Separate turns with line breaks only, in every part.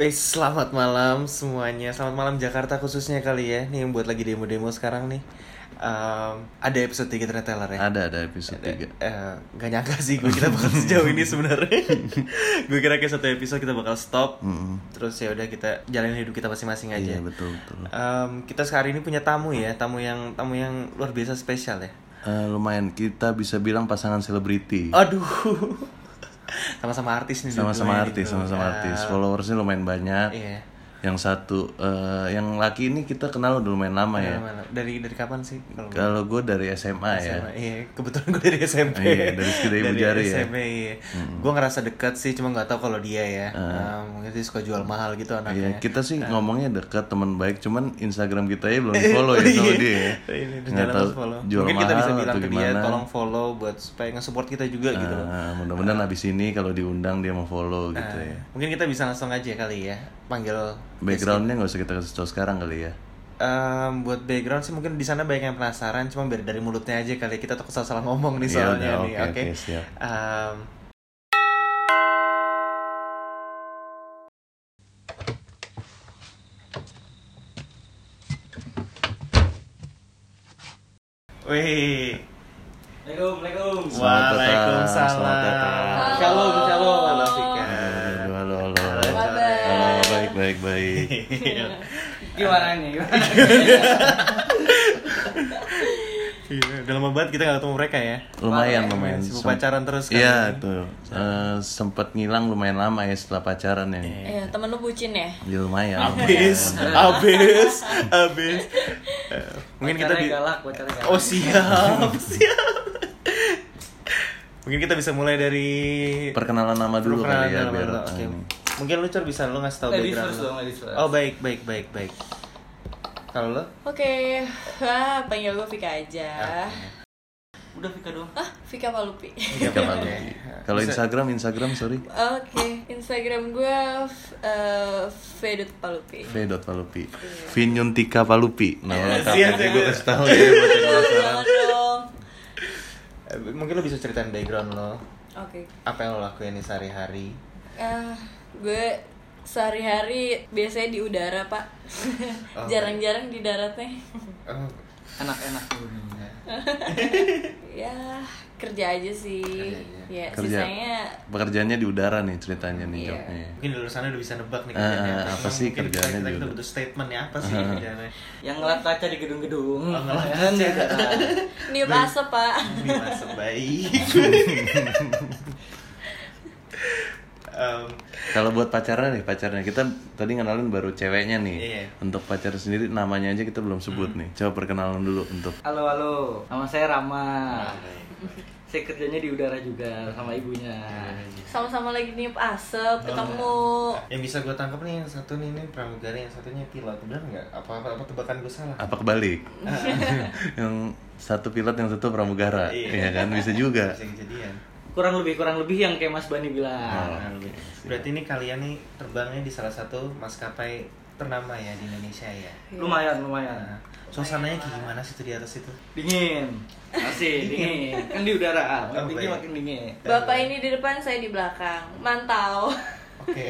Eh, selamat malam semuanya. Selamat malam Jakarta khususnya kali ya. Nih yang buat lagi demo-demo sekarang nih. Em, ada episode 3 ternyata Lar, ya.
Ada ada episode 3
Eh, gak nyangka sih gue kita bakal sejauh ini sebenarnya. gue kira kayak satu episode kita bakal stop. Terus ya udah kita jalanin hidup kita masing-masing aja.
Iya betul betul.
Em, kita sekarang ini punya tamu ya, tamu yang tamu yang luar biasa spesial ya.
Eh, lumayan kita bisa bilang pasangan selebriti.
Aduh. Sama-sama artis nih
Sama-sama
dua-duanya nih,
artis, sama-sama
bro.
artis. Followersnya lumayan banyak.
gitu ya. Iya.
Yang satu eh, yang laki ini kita kenal udah lumayan lama ya.
Mana- Dari dari kapan sih kalau
Kalau gue dari SMA ya.
SMA, iya kebetulan gue dari SMP
Iya, dari sekitar Ibu Jari ya.
SMP iya gue ngerasa dekat sih cuma nggak tahu kalau dia ya Nah, mungkin dia suka jual mahal gitu
Ah. Iya,
anaknya
kita sih ngomongnya dekat teman baik, cuman Instagram
Oh,
kita ya belum di follow ya
iya.
sama dia.
Ini
ya.
udah
Nggak
jalan
tahu
terus follow.
jual
mungkin kita
mahal
bisa bilang
atau
ke dia
gimana.
tolong follow buat supaya nge-support kita juga gitu loh Nah, Ah.
Ah, mudah-mudahan abis ini kalau diundang dia mau follow gitu ya.
mungkin kita bisa langsung aja kali ya panggil
Backgroundnya nggak usah kita kasih tau sekarang kali ya.
Em, buat background sih mungkin di sana banyak yang penasaran cuma biar dari mulutnya aja kali ya. kita takut salah salah ngomong nih
Iya,
soalnya
udah,
nih
oke,
oke
oke, siap.
Em, Wih,
Selamat datang,
Assalamualaikum.
selamat
waalaikumsalam.
datang.
Shalom, shalom, halo Fika.
Halo, halo, halo.
Halo,
Halo, baik, baik, baik.
Gimana nih? Gimana?
Iya, udah lama banget kita gak ketemu mereka ya.
Lumayan, lumayan.
Sibuk
Sem-
pacaran terus kan.
Iya, tuh. Eh, sempet ngilang lumayan lama ya setelah pacaran ya.
Eh, temen lu bucin ya?
Ya lumayan.
Abis, abis, abis. Eh, mungkin kita
Pacarnya
di-
galak, pacarnya galak.
Oh siap, siap. Mungkin kita bisa mulai dari
Perkenalan nama dulu
perkenalan
kali ya
dalam
biar
dulu. Oke.
eh, ini.
Mungkin lu Cor, bisa lu ngasih tau
Ladies
background
first
lu.
dong, ladies first.
Oh baik, baik, baik, baik. Kalau lo?
Oke, Hah, panggil gue Vika aja.
Udah Vika dong.
Ah, Vika Palupi.
Iya, Pak Lupi. Kalau Instagram, Instagram sorry.
Oke, Instagram gue eh Vedut Palupi.
V. Palupi. Vinyuntika Palupi. Nah,
Siap,
lengkapnya
siap.
gue kasih tahu ya buat yang penasaran.
Jangan dong.
Eh, Mungkin lu bisa ceritain background lo.
Oke,
Apa yang lo lakuin di sehari-hari?
Eh, gue sehari-hari biasanya di udara pak,
Oh.
jarang-jarang di daratnya.
Oh,
Enak-enak dulu.
ya kerja aja sih.
Kerja aja.
Ya,
Kerja.
sisanya
Pekerjaannya di udara nih ceritanya nih
Iya.
jobnya.
Mungkin dari sana udah bisa nebak nih
Ah,
kerjaannya.
apa
Cuma
sih
mungkin
kerjaannya
kita, kita, kita
juga. Eh.
butuh statement ya apa sih kerjaannya?
Yang ngelap kaca di gedung-gedung.
Oh, ngelap
Kan?
kaca.
niup asap pak.
Ini masa baik. Em,
Kalau buat pacarnya nih, pacarnya kita tadi ngenalin baru ceweknya nih.
Iya. Hmm.
Untuk pacar sendiri namanya aja kita belum sebut nih. Coba perkenalan dulu untuk
Halo, halo. Nama saya Rama. Saya kerjanya di udara juga sama ibunya.
Sama-sama lagi niup asap, ketemu.
yang bisa gue tangkap nih yang satu nih ini pramugari yang satunya pilot benar nggak apa apa, apa tebakan gue salah
apa kebalik? yang satu pilot, yang satu pramugara.
Iya.
Iya kan bisa juga.
bisa kejadian
Kurang lebih kurang lebih yang kayak Mas Bani bilang.
Ah,
Nah, lebih- berarti ini kalian nih terbangnya di salah satu maskapai ternama ya di Indonesia ya
Lumayan, lumayan.
Nah, suasananya kayak gimana sih tuh di atas itu
Dingin. Masih dingin. Kan di
Oh,
udara, makin tinggi
baik.
makin dingin.
Bapak ini di depan, saya di belakang. Mantau.
oke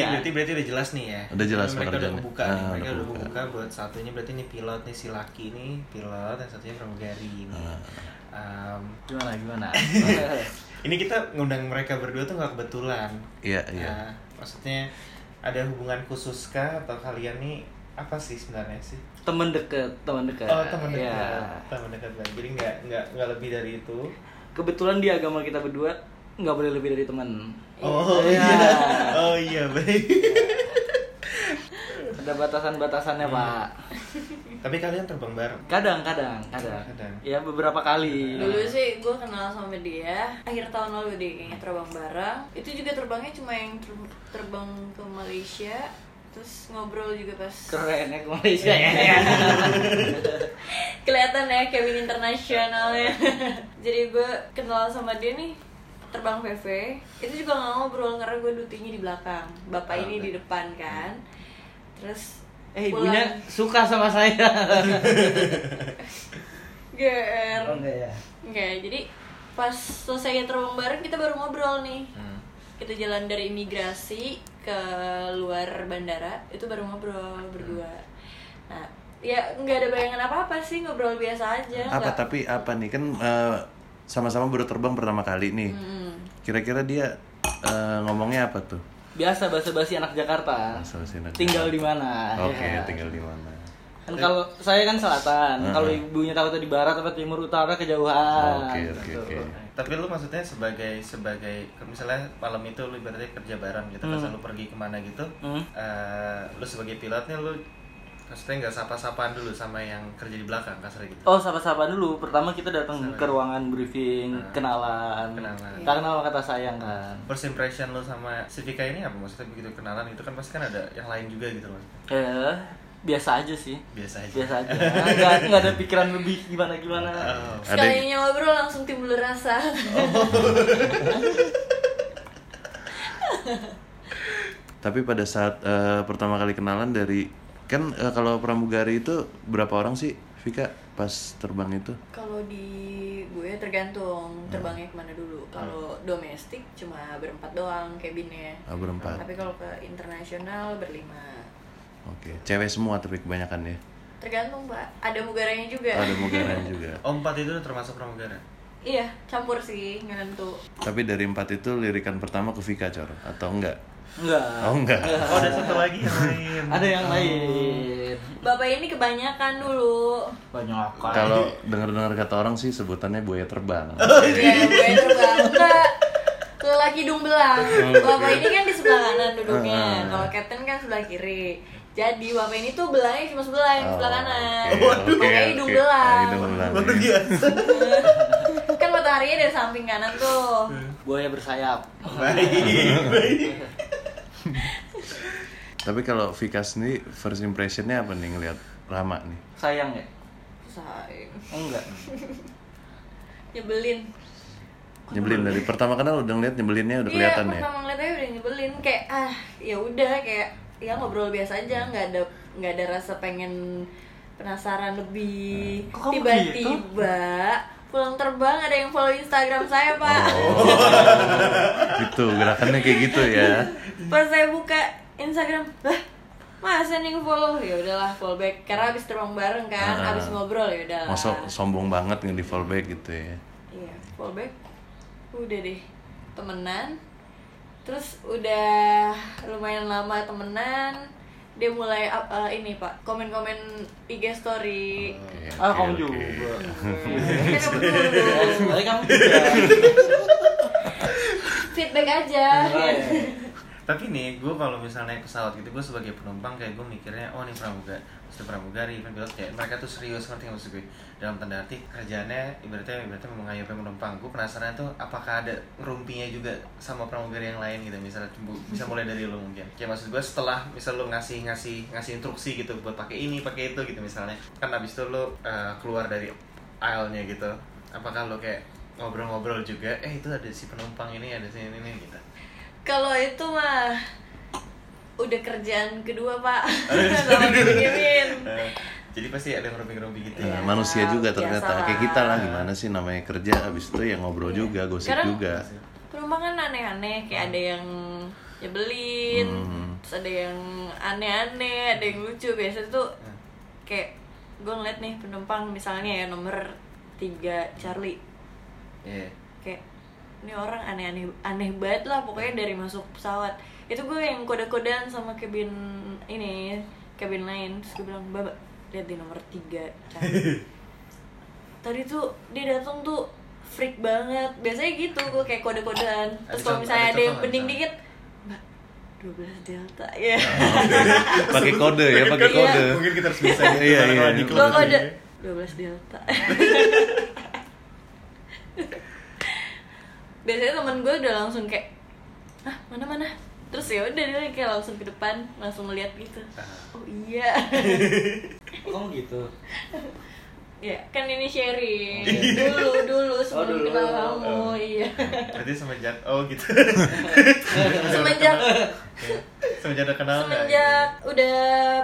berarti,
ya.
berarti berarti udah jelas nih ya
Iya. Udah jelas
mereka udah
pekerjaannya.
buka
Ah,
mereka
udah
udah
kebuka.
buka buat satunya berarti ini pilot nih si laki nih pilot yang satunya pramugari ini
Ah. Nah,
Em,
Gimana gimana?
ini kita ngundang mereka berdua tuh nggak kebetulan
Iya, iya.
Nah, maksudnya ada hubungan khusus kah atau kalian nih apa sih sebenarnya sih?
temen deket, temen dekat.
Oh teman dekat,
Ya.
teman dekat banget. Jadi nggak nggak nggak lebih dari itu.
kebetulan di agama kita berdua nggak boleh lebih dari teman
Oh
Iya.
iya, oh iya baik.
ada batasan-batasannya pak
Tapi kalian terbang bareng.
kadang kadang kadang
Kadang.
ya beberapa kali
Dulu sih gue kenal sama dia akhir tahun lalu deh kayaknya terbang bareng. Itu juga terbangnya cuma yang ter- terbang ke Malaysia. Terus ngobrol juga pas
keren ya ke Malaysia ya
kelihatan ya Kevin internasional ya. Jadi gue kenal sama dia nih terbang VV itu juga nggak ngobrol karena gue dutinya di belakang bapak ini di depan kan terus
Ah, eh
pulang-
ibunya suka sama saya
GR
enggak ya
Hmm.
Enggak, jadi pas selesai terbang bareng kita baru ngobrol nih. kita jalan dari imigrasi ke luar bandara itu baru ngobrol
Hmm.
berdua nah ya nggak ada bayangan apa apa sih ngobrol biasa aja
Ah.
apa
nggak-
tapi apa nih kan eh, sama-sama baru terbang pertama kali nih
Hmm.
kira-kira dia eh, ngomongnya apa tuh
Biasa bahasa-bahasi anak Jakarta.
Bahasa-bahasi anak
tinggal
Jakarta.
di mana?
Ah.
oke
ya.
tinggal Hmm. di mana
Kan kalau saya kan selatan, kalau ibunya tahu di barat apa timur
Ah,
utara kejauhan.
oke oke oke
tapi lu maksudnya sebagai sebagai misalnya malam itu lu ibaratnya kerja bareng gitu pas lu pergi kemana gitu
Hmm.
eh, lu sebagai pilotnya lu maksudnya nggak sapa-sapaan dulu sama yang kerja di belakang kasar gitu
Oh, sapa-sapa dulu. Pertama kita datang ke ruangan briefing, kenalan.
Kenalan.
Tak kenal kata sayang kan.
first impression lu sama si Vika ini apa maksudnya begitu kenalan gitu kan pasti kan ada yang lain juga gitu loh
Eh, biasa aja sih.
biasa aja
Biasa aja. Enggak enggak ada pikiran lebih gimana gimana.
ada Oh.
sekalinya ngobrol langsung timbul rasa
tapi pada saat eh, pertama kali kenalan dari kan eh, kalau pramugari itu berapa orang sih Vika pas terbang itu
Kalau di gue
Hmm.
tergantung terbangnya kemana dulu. Kalau domestik cuma berempat doang kabinnya.
Ah, berempat
Tapi kalau ke internasional berlima.
oke cewek semua tapi kebanyakan ya Oh,
Tergantung pak. Ada mugaranya juga.
ada mugaran juga
Oh, empat itu termasuk pramugara
iya, campur sih ngelentu.
tapi dari empat itu lirikan pertama ke Vika cor atau enggak
Enggak.
Ah.
oh enggak
oh ada satu lagi yang lain
Ada yang lain.
Bapak ini kebanyakan dulu.
Banyak
Kalau dengar-dengar kata orang sih sebutannya buaya terbang.
Iya, gue terbang enggak. Lelaki hidung belang.
Oh, iya.
Bapak ini kan di sebelah kanan
Ah,
duduknya. Kalau captain kan sebelah kiri. Jadi bapak ini tuh belangnya cuma sebelah yang sebelah kanan.
Oh, Oke,
Makanya
oke,
hidung
oke. Ah,
belang.
hidung belang.
Baru biasa
kan mataharinya dari samping kanan tuh
Hmm.
Buaya bersayap.
baik baik
Tapi kalau Vika sendiri first impressionnya apa nih ngelihat Rama nih?
Sayang ya?
Say.
Enggak.
nyebelin
Nyebelin dari pertama kenal udah ngeliat nyebelinnya udah
ya? iya
kelihatan ya.
pertama ngeliatnya udah nyebelin kayak ah ya udah kayak ya ngobrol biasa aja nggak ada nggak ada rasa pengen penasaran
Hmm.
lebih
Kok kamu
tiba-tiba pulang terbang ada yang follow Instagram saya pak
Oh. Gitu gerakannya kayak gitu ya.
pas saya buka Instagram lah masa nih follow ya udahlah follow back karena abis terbang bareng kan
Ah.
abis ngobrol ya udah
Masa sombong banget nge di fallback gitu ya.
Iya, fallback udah deh temenan. Terus udah lumayan lama temenan, dia mulai up- uh, ini pak komen-komen IG story.
Oke,
Kan
Ah,
oke,
kamu
oke.
juga. Eh,
Kita nggak peduli.
Tapi kamu juga.
Feedback aja.
tapi nih gue kalau misalnya naik pesawat gitu gue sebagai penumpang kayak gue mikirnya oh nih pramuga Maksudnya pramugari event pilot kayak mereka tuh serius ngerti nggak maksud gue dalam tanda arti kerjaannya ibaratnya ibaratnya mengayomi penumpang gue penasaran tuh apakah ada rumpinya juga sama pramugari yang lain gitu misalnya bu- bisa mulai dari lo mungkin kayak maksud gue setelah misal lo ngasih ngasih ngasih instruksi gitu buat pakai ini pakai itu gitu misalnya kan abis itu lo eh, keluar dari aisle-nya gitu apakah lo kayak ngobrol-ngobrol juga eh itu ada si penumpang ini ada si ini ini gitu
Kalau itu mah udah kerjaan kedua pak sama dikirimin.
Eh, jadi pasti ada yang rompi-rompi gitu
Nah,
ya.
Iya.
manusia juga
Biasa
ternyata
lah.
kayak kita lah gimana sih namanya kerja abis itu ya ngobrol juga gosip
Karena-
juga
Penumpang kan aneh-aneh kayak ada yang nyebelin, terus ada yang aneh-aneh, ada yang lucu. Biasanya tuh kayak gue ngeliat nih penumpang misalnya ya nomor 3 Charlie
Iya.
kayak ini orang aneh-aneh aneh banget lah pokoknya dari masuk pesawat itu gue yang kode-kodean sama kabin ini kabin lain terus gue bilang mbak mbak, lihat di nomor tiga Charlie." tadi tuh dia datang tuh freak banget biasanya gitu gue kayak kode-kodean
Ada
terus kalau
contoh-
misalnya
ada
ada yang
contoh
bening
nggak
dikit mbak 12 delta ya
pakai kode ya pakai kode
Mungkin kita harus bisa gitu.
Iya, iya.
Kalau di
gue
kelas
kode
ini.
12 delta biasanya temen gue udah langsung kayak ah mana mana terus ya udah dia kayak langsung ke depan langsung ngeliat gitu
Ah.
oh iya
Oh, kamu gitu.
ya kan ini
Oh,
sharing
iya.
dulu dulu sebelum
dulu.
kenal kamu iya
Berarti semenjak oh gitu.
semenjak
Iya. semenjak ada kenal nggak? gitu?
semenjak udah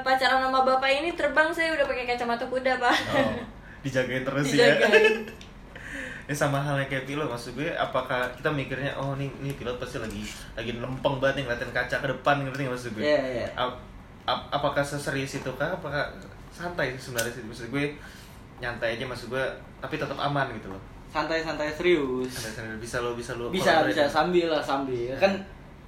pacaran sama bapak ini terbang saya udah pakai kacamata kuda pak
Oh, dijagain terus ya.
dijagain
ini sama halnya kayak pilot maksud gue apakah kita mikirnya oh nih nih pilot pasti lagi lagi nempeng banget nih ngeliatin kaca ke depan ngerti nggak maksud gue
Iya, iya.
Ap- ap- apakah seserius itu kah apakah santai sih sebenarnya sih maksud gue nyantai aja maksud gue tapi tetap aman gitu loh
santai-santai serius
Santai- santai. bisa lo bisa lo
bisa bisa sambil lah sambil kan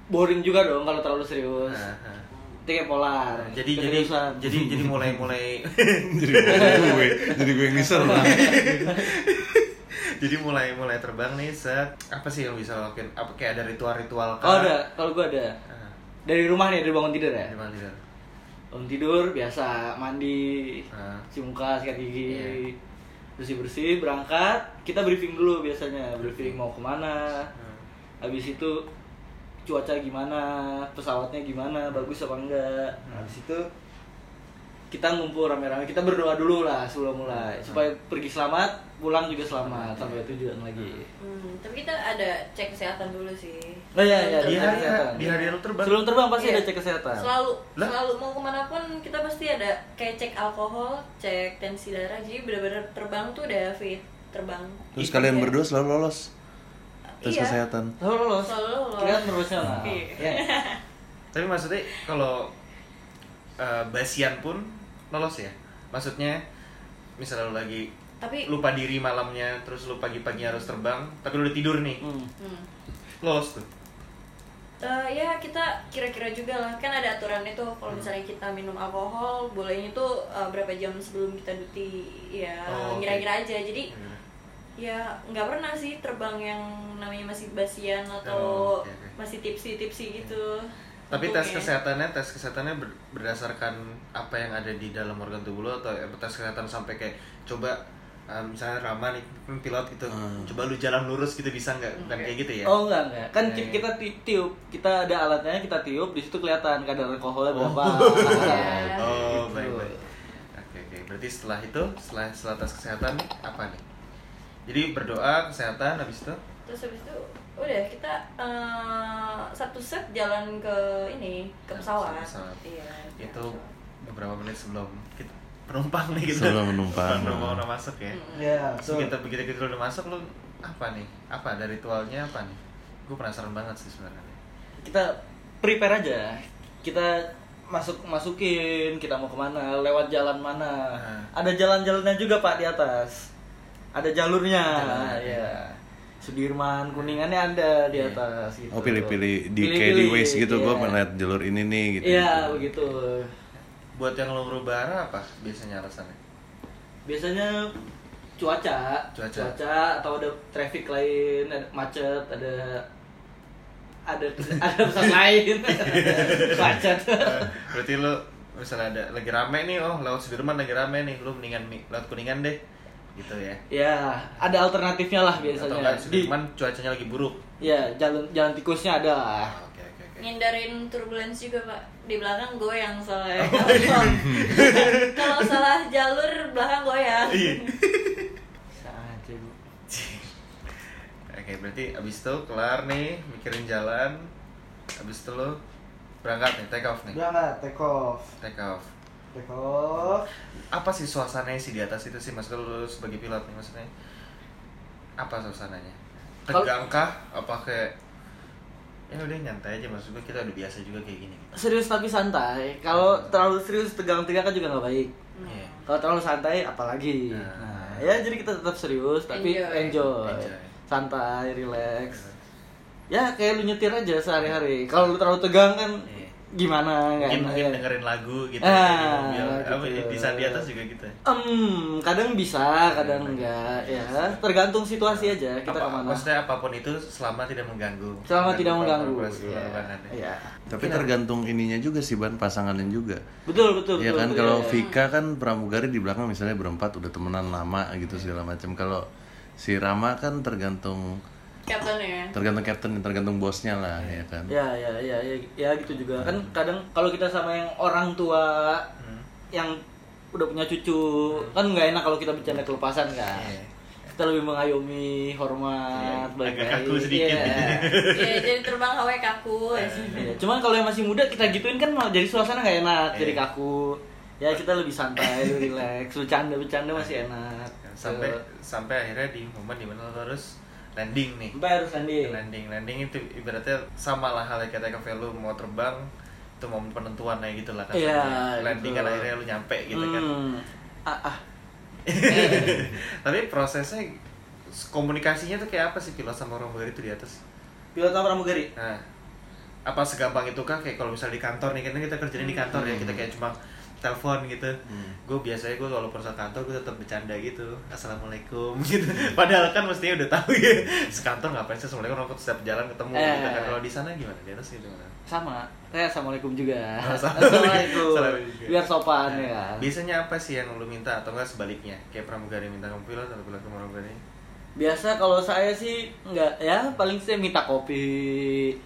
boring juga dong kalau terlalu serius
Nah, nah.
itu kayak polar
jadi jadi
keseriusan.
jadi jadi mulai mulai
jadi gue jadi gue yang nyesel
jadi mulai mulai terbang nih set apa sih yang bisa lo lakuin apa kayak ada ritual-ritual kah?
oh ada kalau gua ada
Ah,
dari rumah nih dari bangun tidur ya
di mana tidur?
bangun tidur biasa mandi
Ah.
cuci muka sikat gigi
Iya.
bersih bersih berangkat kita briefing dulu biasanya briefing mau kemana
Hmm.
habis itu cuaca gimana pesawatnya gimana bagus apa enggak
Ah.
habis itu kita ngumpul rame-rame kita berdoa dulu lah sebelum mulai
Ah.
supaya pergi selamat pulang juga selamat sampai tujuan lagi
Ah.
Hmm, tapi kita ada cek kesehatan dulu sih.
Oh, iya, iya,
di hari
Sebelum terbang.
kesehatan.
di hari lo terbang
sebelum terbang pasti
Iya.
ada cek kesehatan
Selalu,
Lah?
selalu mau kemana pun kita pasti ada kayak cek alkohol, cek tensi darah. Jadi bener-bener terbang tuh udah fit terbang.
terus kalian berdua selalu lolos tes
Iya.
kesehatan
Selalu lolos
Selalu lolos.
kalian profesional
Iya.
Iya.
tapi maksudnya kalau eh, basian pun lolos ya maksudnya misalnya lo lagi
Tapi
lupa diri malamnya terus lo pagi-pagi harus terbang tapi lo udah tidur nih
Hmm.
hmm.
lolos tuh
Eh, ya kita kira-kira juga lah kan ada aturannya tuh
Hmm.
kalau misalnya kita minum alkohol bolehnya tuh eh, berapa jam sebelum kita duty ya
Oh, oke.
ngira-ngira aja jadi ya nggak pernah sih terbang yang namanya masih basian atau
Oh, oke, oke.
masih tipsi-tipsi gitu
tapi tes
Untungnya.
kesehatannya tes kesehatannya ber- berdasarkan apa yang ada di dalam organ tubuh lo atau eh, tes kesehatan sampai kayak coba eh, misalnya Rama nih kan pilot gitu coba lu jalan lurus gitu bisa nggak bukan kayak gitu
Iya.
ya
Oh enggak enggak, kan
Oke.
kita, kita ti- tiup, kita ada alatnya, kita tiup, di situ kelihatan kadar alkoholnya
Oh.
berapa.
Iya.
Oh,
Gitu.
baik baik. Oke oke. Berarti setelah itu, setelah setelah tes kesehatan apa nih? Jadi berdoa kesehatan habis itu.
terus habis itu udah kita eh, satu set jalan ke ini ke pesawat,
Pesawat.
Iya,
Itu
pesawat.
beberapa menit sebelum kita penumpang nih kita.
Sebelum penumpang.
Penumpang udah masuk ya.
Iya,
Terus kita begitu kita udah masuk lu apa nih? Apa dari ritualnya apa nih? Gue penasaran banget sih sebenarnya.
Kita prepare aja. Kita masuk masukin kita mau kemana, lewat jalan mana.
Nah.
Ada jalan-jalannya juga Pak di atas. Ada jalurnya.
Jalan,
Iya. Sudirman kuningannya ada di atas gitu.
Iya. oh pilih-pilih di kayak di
Pilih-pilih,
ways gitu
iya.
gue melihat jalur ini nih gitu
Iya, begitu.
Buat yang lo merubah arah apa biasanya alasannya?
biasanya cuaca,
Cuaca.
atau ada traffic lain, ada macet, ada ada ada pesan lain, macet.
Berarti lu misalnya ada lagi rame nih, oh lewat Sudirman lagi rame nih, lu mendingan mi- lewat Kuningan deh. Gitu ya.
ya, ada alternatifnya lah
Atau
biasanya.
enggak
Di,
Sudirman cuacanya lagi buruk.
ya jalan jalan tikusnya ada lah.
Ah, Oke oke oke.
Iya. ngindarin turbulence juga pak di belakang goyang soalnya
Oh, iya.
kalau kalau salah jalur belakang goyang
Iya.
Bisa aja, Bu.
Oke berarti abis itu kelar nih mikirin jalan. Abis itu lo berangkat nih take off nih.
Berangkat, take off,
Take off.
take off.
Apa sih suasananya sih di atas itu sih mas lo sebagai pilot nih maksudnya? Apa suasananya?
Kalau-
Tegang kah? Apa kayak ya udah nyantai aja maksud gue kita udah biasa juga kayak gini.
Serius tapi santai. Kalau terlalu serius tegang-tegang kan juga nggak baik.
Iya.
Kalau terlalu santai apalagi.
Nah.
Nah, ya jadi kita tetap serius tapi
Enjoy.
enjoy.
Enjoy.
Santai, relax. Ya kayak lu nyetir aja sehari-hari. Kalau lu terlalu tegang kan
Iya.
gimana nggak
Mungkin
enak
mungkin
ya.
dengerin lagu gitu.
Ah,
di mobil. Apa,
gitu. Ya,
Di saat di atas juga gitu.
Em, kadang bisa, kadang enggak ya. Tergantung situasi aja kita
Apa-
kemana.
Maksudnya apapun itu selama tidak mengganggu.
Selama tidak mengganggu.
Iya.
Iya. Iya.
tapi tergantung ininya juga sih ban pasangannya juga
Betul, betul,
Iya
betul.
kan
betul,
kalau
iya.
Vika kan pramugari di belakang misalnya berempat udah temenan lama gitu segala macam. Kalau si Rama kan tergantung
captainnya
tergantung captain tergantung bosnya lah ya kan.
Ya, ya, ya, ya, ya gitu juga. Kan kadang kalau kita sama yang orang tua
Hmm.
yang udah punya cucu, kan nggak enak kalau kita bercanda kelepasan kan.
Iya.
Kita lebih mengayomi,
Iya,
hormat, baik
agak
baik.
kaku sedikit.
Iya.
ya jadi terbang HW kaku
Eh.
ya sih.
Iya, Cuman kalau yang masih muda kita gituin kan malah jadi suasana nggak enak, jadi
Iya.
kaku. Ya kita lebih santai, lebih relax, bercanda bercanda masih enak.
Oke, Iya. sampai
Betul.
sampai akhirnya di momen dimana lo harus landing nih
Sampai harus landing.
landing landing itu ibaratnya sama lah halnya ketika lu mau terbang itu momen penentuan lah gitu lah
Iya,
landing
gitu.
kan akhirnya lu nyampe gitu kan
Hmm. Ah, ah.
tapi prosesnya komunikasinya tuh kayak apa sih pilot sama orang Bulgaria itu di atas
Pilot sama pramugari.
Nah, apa segampang itu kah kayak kalau misalnya di kantor nih kan kita kerjanya
Hmm,
di kantor ya kita kayak cuma telepon gitu gue biasanya gue kalau perusahaan kantor gue tetap bercanda gitu assalamualaikum gitu padahal kan mestinya udah tahu ya sekantor ngapain sih assalamualaikum orang setiap jalan ketemu
Hmm. Eh.
gitu kan kalau di sana gimana di atas gitu gimana
Sama. Saya assalamualaikum juga.
Oh,
Assalamualaikum.
Assalamualaikum. Iya.
Biar sopan ya. kan?
Nah, biasanya apa sih yang lu minta atau enggak sebaliknya kayak pramugari minta kamu pilot atau pilot ke pramugari
Biasa kalau saya sih nggak ya paling saya minta kopi.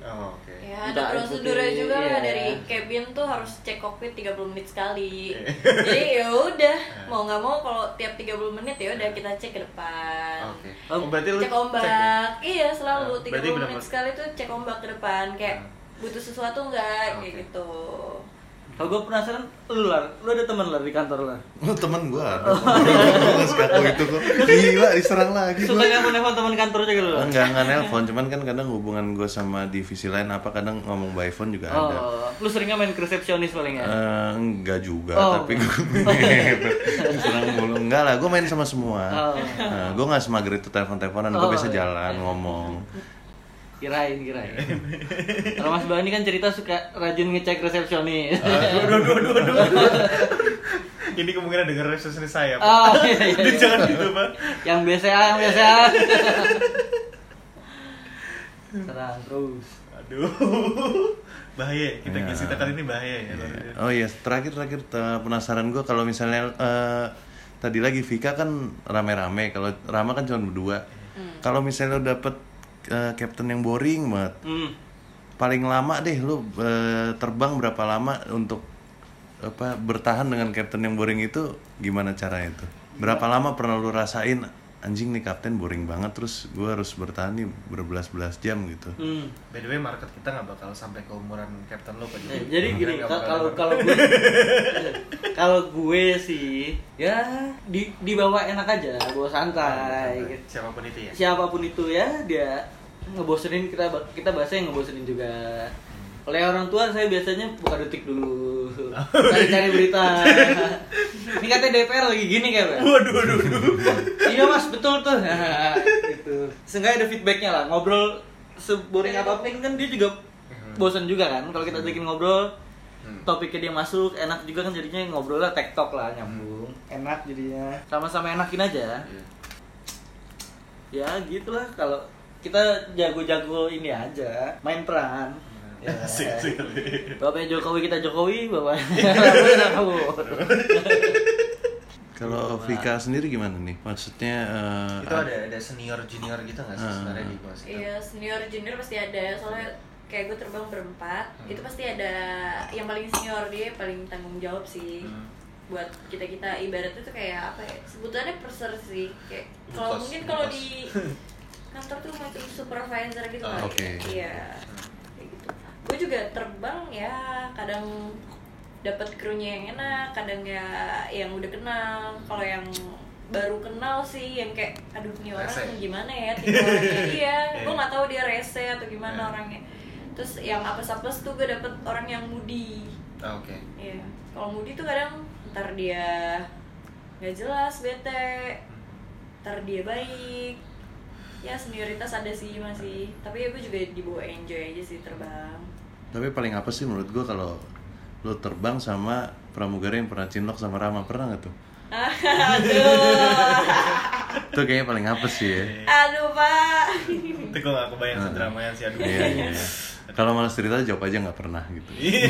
oh, oke
Ya,
Minta
ada
air
prosedurnya
putih,
juga lah
iya.
dari cabin tuh harus cek kokpit 30 menit sekali.
Iya.
Jadi ya udah, mau nggak mau kalau tiap 30 menit ya udah kita cek ke depan.
Iya. oke
Oh,
oh, berarti lu
Cek ombak.
ya?
Iya, selalu
Nah, berarti
30 menit
benar-benar-
sekali tuh cek ombak ke depan kayak
Nah.
butuh sesuatu
Oke.
nggak kayak gitu.
Kalau gue penasaran, lu lar, lu ada teman lar di kantor lar?
Lu Oh, temen gue ada. Gue nggak sekaku itu kok. Gila diserang lagi.
Suka nggak nelfon teman kantor juga lu? Lar?
Enggak enggak nelpon, cuman kan kadang hubungan gue sama divisi lain apa kadang ngomong by phone juga ada.
Oh, lu seringnya main ke resepsionis paling ya?
Eh, enggak juga,
Oh.
tapi gue diserang mulu. Enggak lah, gue main sama semua.
Oh.
Eh, gue nggak semager itu telepon-teleponan, gue
Oh,
biasa
iya.
jalan ngomong.
Kirain, kirain. Kalau Mas Bani kan cerita suka rajin ngecek resepsionis.
dua dua dua dua ini kemungkinan dengar resolusi saya Pak.
Oh, iya, iya,
Jadi
iya.
jangan gitu pak
yang BCA, yang BCA. Serang terus.
aduh bahaya kita
Ya.
kita kali ini bahaya ya
Iya. Oh iya, terakhir-terakhir eh, penasaran gue kalau misalnya eh, tadi lagi Vika kan rame-rame, kalau Rama kan cuma berdua. Kalau misalnya lo dapet eh, captain yang boring banget,
Hmm.
paling lama deh lo eh, terbang berapa lama untuk apa bertahan dengan captain yang boring itu gimana caranya itu? Berapa lama pernah lo rasain anjing nih kapten boring banget terus gue harus bertahan nih berbelas-belas jam gitu.
Hmm.
by the way market kita nggak bakal sampai ke umuran Captain lo Pak.
Eh, jadi
Kita
gini,
nggak
ka-
bakal-
kalau kalau gue kalau gue sih ya di dibawa enak aja, bawa santai gitu.
siapapun itu ya
siapapun itu ya dia ngebosenin kita kita bahasanya ngebosenin juga oleh orang tua saya biasanya buka detik dulu cari cari berita ini katanya DPR lagi gini kayak Pak.
waduh waduh waduh
iya mas betul tuh Nah, gitu seenggaknya ada feedbacknya lah ngobrol seboring apapun kan dia juga bosen juga kan kalau
Hmm.
kita bikin ngobrol topiknya dia masuk enak juga kan jadinya ngobrol lah tektok lah nyambung Hmm. enak jadinya sama-sama enakin aja
Iya.
ya gitulah kalau kita jago-jago ini aja main peran ya.
Asik, asik.
Eh,
Bapaknya Jokowi kita Jokowi, bapak Prabowo Prabowo.
Kalau Vika sendiri gimana nih? Maksudnya eh,
itu ada ada senior junior gitu nggak sih
Hmm.
sebenarnya di bawah situ
Iya, senior junior pasti ada. Soalnya kayak gue terbang berempat,
Hmm.
itu pasti ada yang paling senior dia paling tanggung jawab sih.
Hmm.
Buat kita-kita ibaratnya tuh kayak apa ya? Sebutannya perser sih. Kayak
Bos,
kalau mungkin kalau
bos.
di kantor tuh macam supervisor gitu
Ah,
kan.
oke.
Iya. Kayak gitu. Gue juga terbang ya kadang dapat krunya yang enak, kadang ya yang udah kenal. Kalau yang baru kenal sih yang kayak aduh ini orang
Rese.
gimana ya tipe orangnya dia gue
Iya.
nggak tahu dia rese atau gimana
Iya.
orangnya terus yang apes apes tuh gue dapet orang yang moody
Ah, oke
ya kalau moody tuh kadang ntar dia nggak jelas bete ntar dia baik ya senioritas ada sih masih tapi ya gue juga dibawa enjoy aja sih terbang
Tapi paling apa sih menurut gua kalau lo terbang sama pramugara yang pernah cinlok sama Rama pernah nggak tuh?
aduh
Itu kayaknya paling apa sih ya?
aduh pak
itu gue nggak kebayang sedramayan sih aduh
Eh. Iya, iya, iya. Kalau malas cerita jawab aja nggak pernah gitu.
Iya.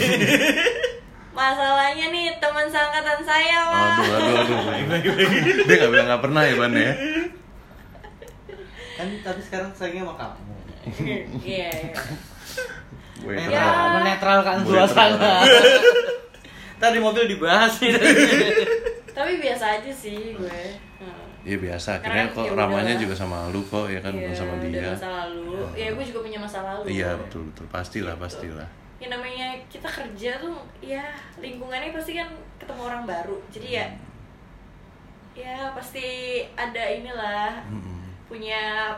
masalahnya nih teman sangkatan saya pak
Oh, Aduh, aduh, aduh. Dia nggak bilang nggak pernah ya Ban ya?
Kan tapi sekarang sayangnya sama kamu.
iya iya.
Gue
Netral,
Ya.
menetralkan kan suasana. Tadi mobil dibahas nih.
tapi biasa aja sih gue Hmm.
Iya biasa. Akhirnya
Karena
kok
ya udah
Ramanya
lah.
juga sama lu kok ya kan bukan
Iya,
sama
udah
dia.
masa lalu ya gue juga punya masa lalu
Iya betul betul pastilah pastilah.
yang namanya kita
Hmm.
kerja tuh ya lingkungannya pasti kan ketemu orang baru jadi ya ya pasti ada inilah
Mm-mm.
punya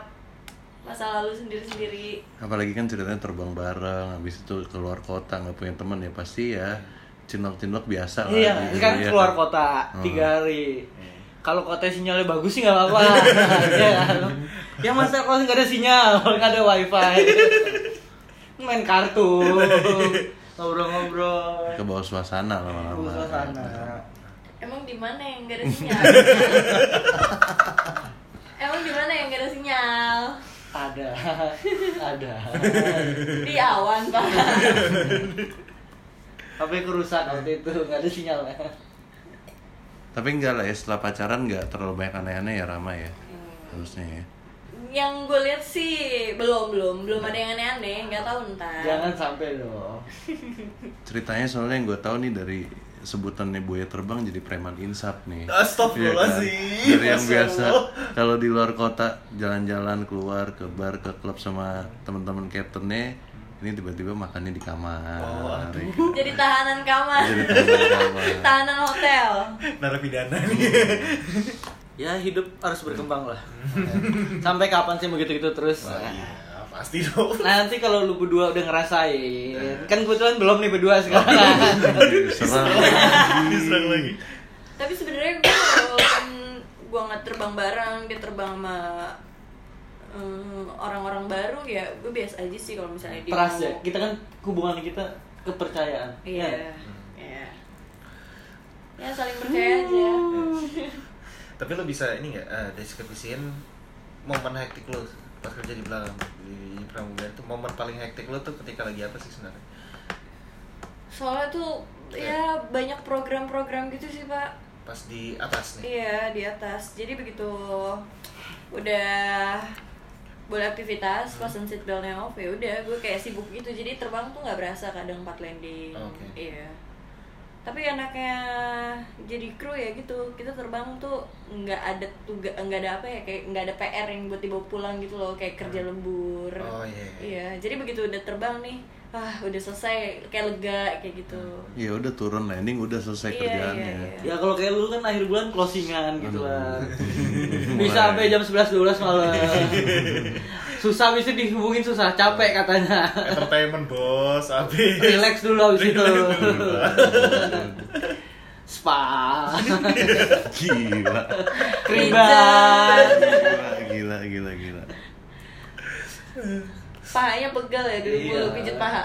masa lalu sendiri-sendiri
apalagi kan ceritanya terbang bareng habis itu keluar kota nggak punya teman ya pasti ya cinlok-cinlok biasa
Iya,
lah gitu,
sekarang
iya
keluar
kan?
kota
Hmm.
tiga hari.
Iya.
Kalau kota sinyalnya bagus sih nggak apa-apa. Iya kan? Ya masa kalau nggak ada sinyal, nggak ada wifi. Main kartu, ngobrol-ngobrol.
ke bawah suasana lama-lama
Ke suasana.
Emang di mana yang gak ada sinyal? Emang di mana yang gak ada sinyal?
Ada, ada.
Di awan, Pak.
HP kerusak waktu itu, nggak ada ya? sinyalnya.
tapi enggak lah ya setelah pacaran nggak terlalu banyak aneh-aneh ya Rama ya harusnya ya
Yang gue lihat sih belum belum belum ada yang aneh-aneh, nggak tahu ntar.
Jangan sampai dong.
ceritanya soalnya yang gue tahu nih dari sebutannya buaya terbang jadi preman insap nih
Astagfirullahaladzim.
Iya kan? dari yang
Masya
biasa
Allah.
kalau di luar kota jalan-jalan keluar ke bar ke klub sama teman-teman captainnya ini tiba-tiba makannya di kamar
Oh, aduh.
ya kan?
Jadi tahanan kamar.
Jadi tahanan kamar.
tahanan hotel.
Narapidana nih.
Ya hidup harus berkembang lah. Sampai kapan sih begitu gitu terus?
Iya, pasti dong.
Nanti kalau lu berdua udah ngerasain, kan kebetulan belum nih berdua sekarang.
Oh, Serem.
Diserang lagi.
Tapi sebenarnya gue walaupun gue nggak terbang bareng, dia terbang sama eh, orang-orang baru ya gue biasa aja sih kalau misalnya dia
Trust ya,
mau-
kita kan hubungan kita kepercayaan.
Iya.
Hmm.
Iya. Ya saling percaya aja.
Hmm.
Tapi lo bisa ini nggak eh, deskripsiin momen hektik lo pas kerja di belakang di pramugari itu momen paling hektik lo tuh ketika lagi apa sih sebenarnya?
Soalnya tuh ya banyak program-program gitu sih pak.
Pas di atas nih.
Iya di atas. Jadi begitu udah boleh aktivitas
Hmm.
pasang seatbeltnya off ya udah gue kayak sibuk gitu jadi terbang tuh nggak berasa kadang empat landing
Oke.
iya tapi enaknya jadi kru ya gitu kita terbang tuh nggak ada tugas nggak ada apa ya kayak nggak ada PR yang buat dibawa pulang gitu loh kayak kerja lembur
Oh, iya.
iya jadi begitu udah terbang nih ah udah selesai kayak lega kayak gitu
Hmm.
ya udah turun landing udah selesai
Iya,
kerjaannya
iya, iya.
Ya kalau kayak lu kan akhir bulan closingan gitu lah.
Mulai.
Bisa sampai jam 11 12 malam. Susah bisa dihubungin susah, capek katanya.
Entertainment bos, abis.
Relax dulu abis itu.
Relax dulu.
Spa.
gila
Kriban.
gila gila gila gila
pahanya pegel ya dulu
Iya.
mulu pijit paha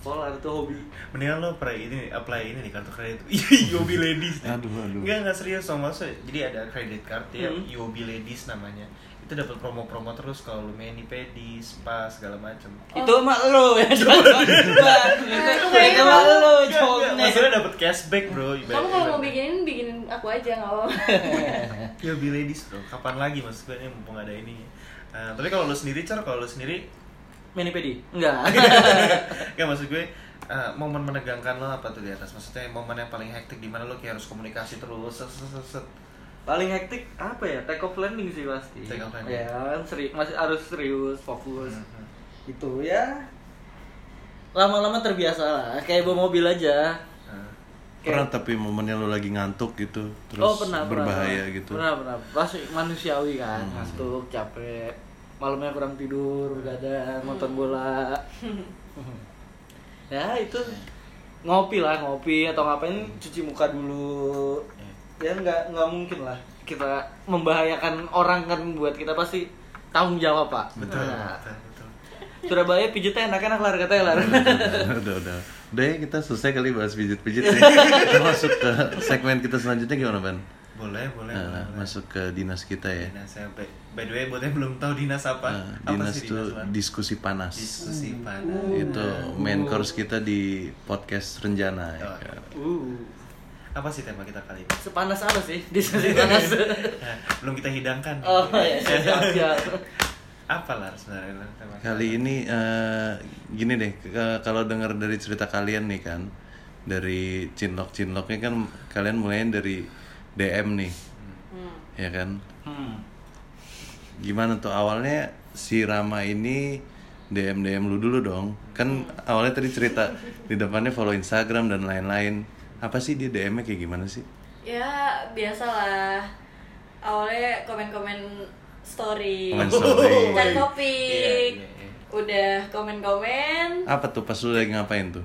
Polar tuh hobi.
Mendingan lo apply ini, apply ini nih kartu kredit Iya, UOB Ladies. nih.
Aduh, aduh.
Enggak, enggak serius sama so, Jadi ada kredit card ya,
Hmm.
UOB Ladies namanya. Itu dapat promo-promo terus kalau lo mani pedi, spa segala macam.
Itu emak lu ya. Itu emak gitu. lu,
Enggak,
cowoknya.
Maksudnya dapat cashback, Bro.
kamu kalau mau bikinin bikinin aku aja nggak apa-apa
Ya be ladies bro, kapan lagi mas gue ini mumpung ada ini Eh, Tapi kalau lu sendiri, Cer, kalau lu sendiri
Mini pedi? Enggak.
Gak maksud gue, eh, momen menegangkan lo apa tuh di atas? Maksudnya momen yang paling hektik di mana lo kayak harus komunikasi terus set, set, set, set.
Paling hektik apa ya? Take off landing sih pasti.
Take off landing.
Ya, kan seri- masih harus serius, fokus.
Mhm.
Gitu ya. Lama-lama terbiasa lah, kayak bawa mobil aja.
Eh,
pernah
Kayak-
tapi momennya lo lagi ngantuk gitu terus
oh, pernah,
berbahaya
pernah.
gitu Hmm.
Pernah, pernah. Pasti manusiawi kan, ngantuk, capek. Malamnya kurang tidur, begadang, nonton bola. ya, itu ngopi lah, ngopi atau ngapain cuci muka dulu.
Hmm.
Ya nggak nggak mungkin lah kita membahayakan orang kan buat kita pasti tanggung jawab, Pak.
Betul,
Nah,
betul, betul
Surabaya pijitnya enak-enak lah ya, katanya lah.
Hmm. udah udah udah ya kita selesai kali bahas pijit-pijit nih Kita masuk ke segmen kita selanjutnya gimana ban
Boleh, boleh,
Nah,
boleh, boleh.
masuk ke dinas kita ya
Dinas ya, by, by the way buat yang belum tahu dinas apa
Nah,
Apa
dinas
sih
itu
Lan?
diskusi panas
Diskusi panas
itu
Oh.
main course kita di podcast Renjana ya
Oh.
kan?
Uh.
Apa sih tema kita kali ini?
Sepanas apa sih? Diskusi panas.
Eh, belum kita hidangkan
oh ya, siap, siap.
Apa lah sebenarnya Lan, tema kita?
Kali ini eh, gini deh, ke- kalau dengar dari cerita kalian nih kan, dari cinlok-cinloknya kan kalian mulai dari DM nih, ya kan?
Hmm.
Gimana tuh awalnya si Rama ini DM DM lu dulu dong, kan awalnya tadi cerita di depannya follow Instagram dan lain-lain. Apa sih dia DM-nya kayak gimana sih?
ya biasalah awalnya komen-komen story
Komen story.
dan
Iya,
topik
iya, iya.
udah komen-komen
Apa tuh pas lu lagi ngapain tuh?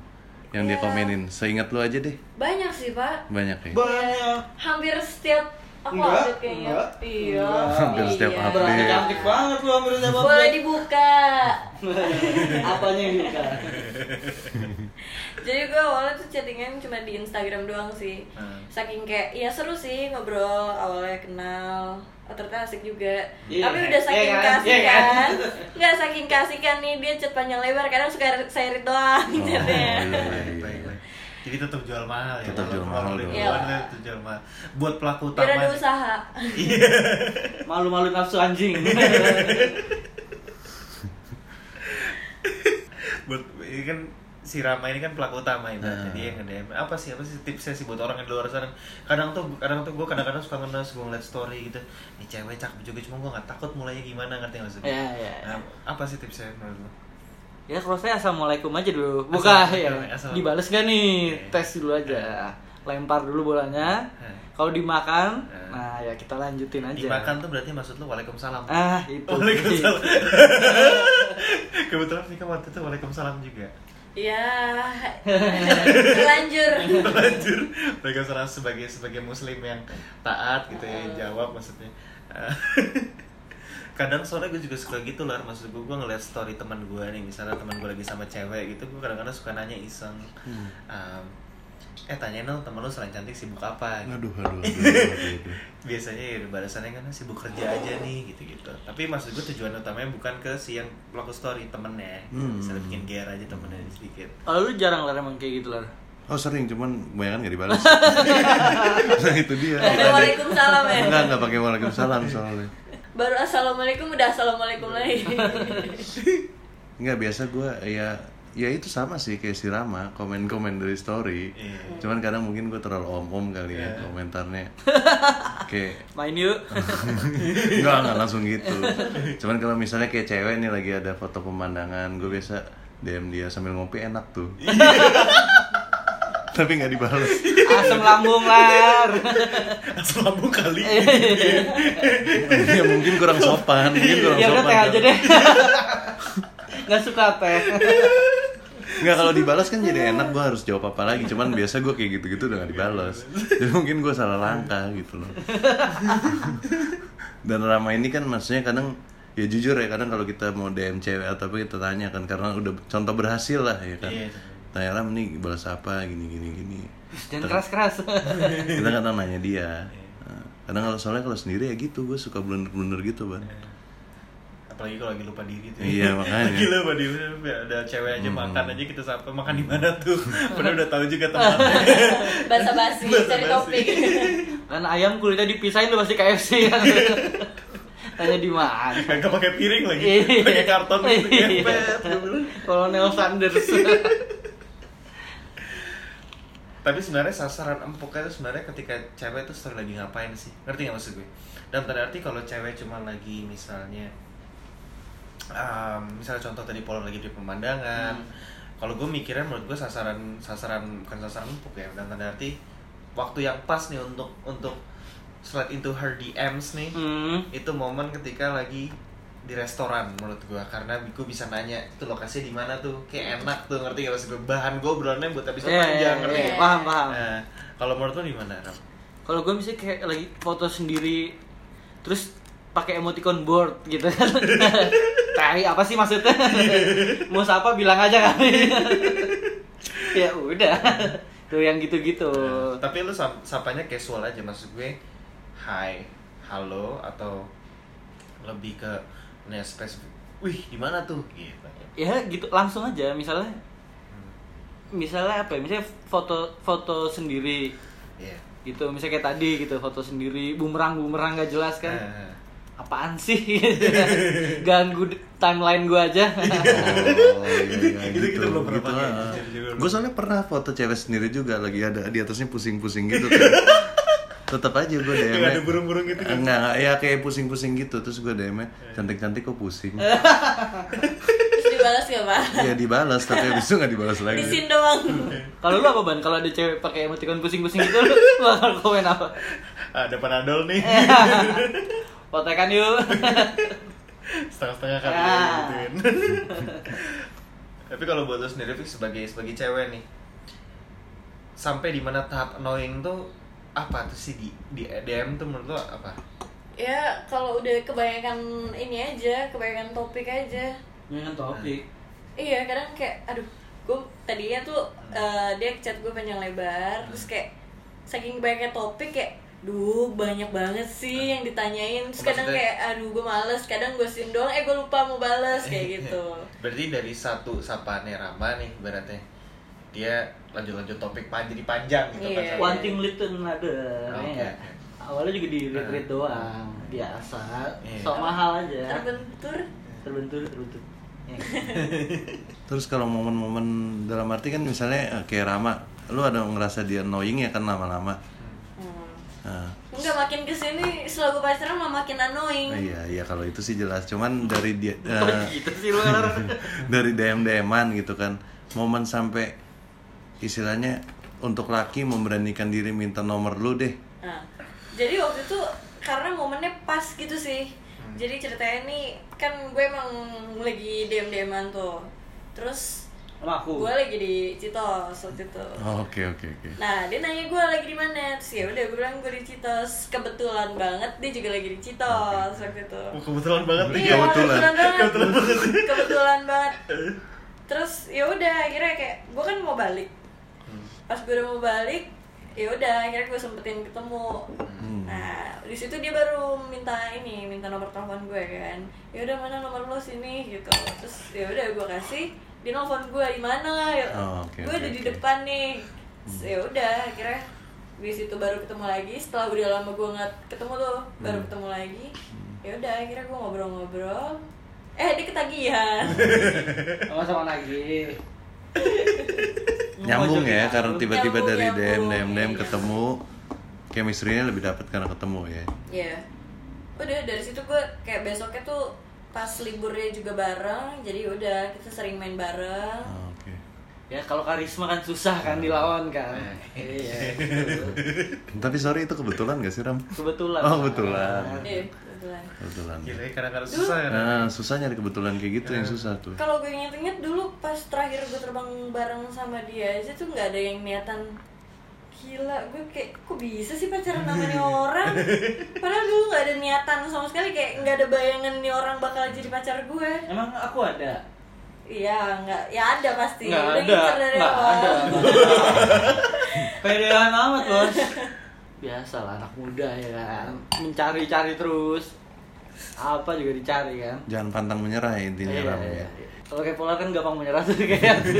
Yang dia
Ya.
komenin. Seingat lu aja deh.
banyak sih pak
Banyak ya.
Ya,
banyak
hampir setiap aku
Enggak,
update kayaknya
enggak,
iya
enggak.
Hampir setiap
iya.
update.
berani cantik banget lu hampir siapa
boleh dibuka
apanya yang dibuka
jadi gue awalnya tuh chattingan cuma di Instagram doang sih
Hmm.
saking kayak ya seru sih ngobrol awalnya kenal oh, ternyata asik juga
Iya,
tapi udah
iya
saking
kan?
kasih
Iya kan?
kan nggak saking kasih kan nih dia chat panjang lebar kadang suka saya read doang
Oh,
chatnya
iya, iya,
Baik,
iya.
baik, baik. Jadi tetap jual mahal ya.
Tetap jual
Walaupun
mahal
orang
dong.
ribuan,
Iya.
tetap jual mahal. Buat pelaku
biar
utama. Iya,
ada usaha
malu-malu nafsu anjing
buat ini kan si Rama ini kan pelaku utama itu
Nah.
jadi yang nge-DM apa sih apa sih tipsnya sih buat orang yang di luar sana kadang tuh kadang tuh gue kadang-kadang suka ngenes gue ngeliat story gitu nih cewek cakep juga cuma gue nggak takut mulainya gimana ngerti nggak sih
Iya, iya, iya.
Nah, apa sih tipsnya menurut lo
ya kalau saya assalamualaikum aja dulu buka
Assalamualaikum,
ya
assalamualaikum. Iya.
dibales gak nih
Oke.
tes dulu aja lempar dulu bolanya
Hmm.
kalau dimakan
Hmm.
nah ya kita lanjutin aja
dimakan tuh berarti maksud lo waalaikumsalam
ah itu
waalaikumsalam kebetulan sih kan waktu itu waalaikumsalam juga
ya terlanjur
lanjut waalaikumsalam sebagai sebagai muslim yang taat gitu ya yang jawab maksudnya kadang soalnya gue juga suka gitu lah maksud gue gue ngeliat story teman gue nih misalnya teman gue lagi sama cewek gitu gue kadang-kadang suka nanya iseng
Hmm.
um, eh tanyain dong temen lu selain cantik sibuk apa gitu.
Aduh, aduh, aduh, aduh, aduh.
biasanya ya balasannya kan sibuk kerja aja nih gitu-gitu tapi maksud gue tujuan utamanya bukan ke si yang pelaku story temennya gitu.
Hmm.
misalnya bikin gear aja temennya sedikit
kalau lu jarang lah emang kayak gitu lah
Oh sering, cuman kebanyakan gak dibalas. nah itu dia.
Ada waalaikumsalam ya
Enggak, enggak pakai waalaikumsalam soalnya.
baru assalamualaikum udah assalamualaikum lagi
Enggak biasa gue ya ya itu sama sih kayak si Rama komen-komen dari story.
Iya.
Cuman kadang mungkin gue terlalu om-om kali ya komentarnya. kayak
main yuk
enggak enggak langsung gitu. Cuman kalau misalnya kayak cewek nih lagi ada foto pemandangan, gue biasa DM dia sambil ngopi enak tuh. Tapi nggak dibales.
asam lambung lar
asal lambung kali
ya mungkin kurang sopan, mungkin kurang
ya udah
sopan. kan.
teh aja deh nggak suka teh
Nggak kalau dibalas kan jadi enak gue harus jawab apa lagi Cuman biasa gue kayak gitu-gitu udah gak dibalas Jadi mungkin gue salah langkah gitu loh Dan Rama ini kan maksudnya kadang Ya jujur ya kadang kalau kita mau DM cewek atau apa kita tanya kan Karena udah contoh berhasil lah ya kan
Iya.
Tanya Ram nih balas apa gini gini gini
jangan keras keras
Kita kadang nanya dia
Iya.
Nah, Kadang kalau soalnya kalau sendiri ya gitu gue suka blunder-blunder gitu ban
Iya. apalagi kalau lagi lupa diri tuh
Iya, makanya.
lagi lupa diri ada cewek aja makan aja kita sapa makan di mana tuh padahal udah tahu juga tempatnya
basa basi cari
Basa-basi.
topik
kan ayam kulitnya dipisahin lu pasti KFC kan tanya di mana
kagak pakai piring lagi
Iya.
pakai karton gitu
Iya.
ngepet, gua bilang.
Kolonel Sanders
tapi sebenarnya sasaran empuknya itu sebenarnya ketika cewek itu story lagi ngapain sih ngerti nggak maksud gue dan berarti kalau cewek cuma lagi misalnya um, misalnya contoh tadi pola lagi di pemandangan
Hmm.
kalau gue mikirnya menurut gue sasaran sasaran bukan sasaran empuk ya dan tanda arti waktu yang pas nih untuk untuk slide into her DMs nih
hmm.
itu momen ketika lagi di restoran menurut gua karena gue bisa nanya itu lokasinya di mana tuh kayak enak tuh ngerti gak maksud gue bahan gue berannya buat episode
Iya, iya,
panjang ngerti
iya.
nggak?
paham paham
Nah, kalau menurut lo di mana Ram?
kalau gue misalnya kayak lagi foto sendiri terus pakai emoticon board gitu kan cari apa sih maksudnya mau siapa bilang aja kan ya udah tuh yang gitu-gitu
Nah, tapi lu sam- sapanya casual aja maksud gue hi halo atau lebih ke nih spesifik wih di mana tuh gitu
ya gitu langsung aja misalnya misalnya apa ya misalnya foto foto sendiri
Iya.
gitu misalnya kayak tadi gitu foto sendiri bumerang bumerang gak jelas kan
Nah,
apaan sih ganggu di- timeline gue aja
iya,
Itu
gitu,
kita Gitu, belum pernah
ah,
pakai.
Gue soalnya pernah foto cewek sendiri juga lagi ada di atasnya pusing-pusing gitu. kan. Tetap aja gue DM.
Yang ada burung-burung gitu kan? Iya,
Enggak, enggak, ya kayak pusing-pusing gitu terus gue DM -nya, cantik-cantik kok pusing.
terus juga dibalas gak pak?
Iya dibalas tapi abis itu nggak dibalas lagi.
Disin doang.
Hmm. Kalau lu apa ban? Kalau ada cewek pakai emoticon pusing-pusing gitu lu bakal komen apa?
ada panadol Ah, nih
Potekan yuk.
setengah-setengah kan
Ah.
gituin tapi kalau buat lo sendiri Fik, sebagai sebagai cewek nih sampai di mana tahap annoying tuh apa tuh sih di, di DM tuh menurut lo apa
ya kalau udah kebanyakan ini aja, kebanyakan topik aja.
Dengan topik.
Iya kadang kayak aduh gue tadinya tuh eh, dia chat gue panjang lebar terus kayak saking banyaknya topik kayak duh banyak banget sih yang ditanyain terus kadang
Maksudnya-
kayak aduh gue males kadang gue sin doang eh gue lupa mau bales kayak gitu
berarti dari satu sapaannya Rama nih ibaratnya dia lanjut-lanjut topik pan jadi panjang gitu
Iya.
kan
One thing lead to another.
Oke,
ya nggak?
oke. Eh.
Awalnya juga di read read doang, biasa,
Iya.
sok mahal aja.
terbentur
Terbentur, terbentur. Ya.
Terus kalau momen-momen dalam arti kan misalnya eh, kayak Rama, lu ada ngerasa dia annoying ya kan lama-lama.
hmm.
Nah,
enggak makin kesini selalu pacaran mah makin annoying
iya iya kalau itu sih jelas. Cuman dari dia eh,
Oh,
Kok
iya.
gitu sih lu Lar?
dari DM DMan gitu kan, momen sampai istilahnya untuk laki memberanikan diri minta nomor lu deh.
Nah, jadi waktu itu karena momennya pas gitu sih. Jadi ceritanya nih kan gue emang lagi dm dman tuh. Terus
Sama aku.
gue lagi di Citos waktu itu.
Oh, Oke oke oke.
Nah dia nanya gue lagi di mana terus ya udah gue bilang gue di Citos kebetulan banget dia juga lagi di Citos waktu itu.
Wah, Oh, kebetulan banget nih
Iya,
Kebetulan.
kebetulan banget. Kebetulan banget.
Eh.
Terus ya udah akhirnya kayak gue kan mau balik. Pas gue udah mau balik, ya udah akhirnya gue sempetin ketemu.
Hmm.
Nah, di situ dia baru minta ini, minta nomor telepon gue kan. Ya udah mana nomor lo sini gitu. Terus ya udah gue kasih, dia nelfon gue di mana ya.
Oh, oke,
gue
oke,
ada di
oke. Hmm.
depan nih. Terus, Ya udah akhirnya di situ baru ketemu lagi setelah udah lama gue nggak ketemu tuh baru
Hmm.
ketemu lagi ya udah akhirnya gue ngobrol-ngobrol eh dia ketagihan
Sama sama lagi.
Nyambung ya karena tiba-tiba
Nyambung,
dari DM
nyambung,
DM
iya, iya.
ketemu chemistry-nya lebih dapat karena ketemu ya.
Iya.
ya udah dari situ gue kayak besoknya tuh pas liburnya juga bareng jadi udah kita sering main bareng
Oh, Oke.
Ya kalau karisma kan susah kan dilawan kan.
Eh.
Iya. betul.
Tapi sorry itu kebetulan gak sih Ram?
Kebetulan.
Oh kebetulan.
iya kebetulan
Kebetulan.
gila ya kadang-kadang susah ya
Nah, susah nyari kebetulan kayak gitu yang susah tuh.
kalau gue inget-inget dulu pas terakhir gue terbang bareng sama dia aja tuh nggak ada yang niatan gila gue kayak kok bisa sih pacaran sama nih orang padahal dulu nggak ada niatan sama sekali kayak nggak ada bayangan nih orang bakal jadi pacar gue
Emang aku ada?
iya nggak ya ada pasti
Nggak
Udah
ada,
ngincer dari
nggak
awal.
ada. Pedean amat bos. Biasalah anak muda ya kan. Mencari-cari terus. Apa juga dicari kan. Iya,
Jangan pantang menyerah ya, intinya
Iya,
Ram ya.
Kalau kayak pola kan gampang menyerah tuh kayak aku.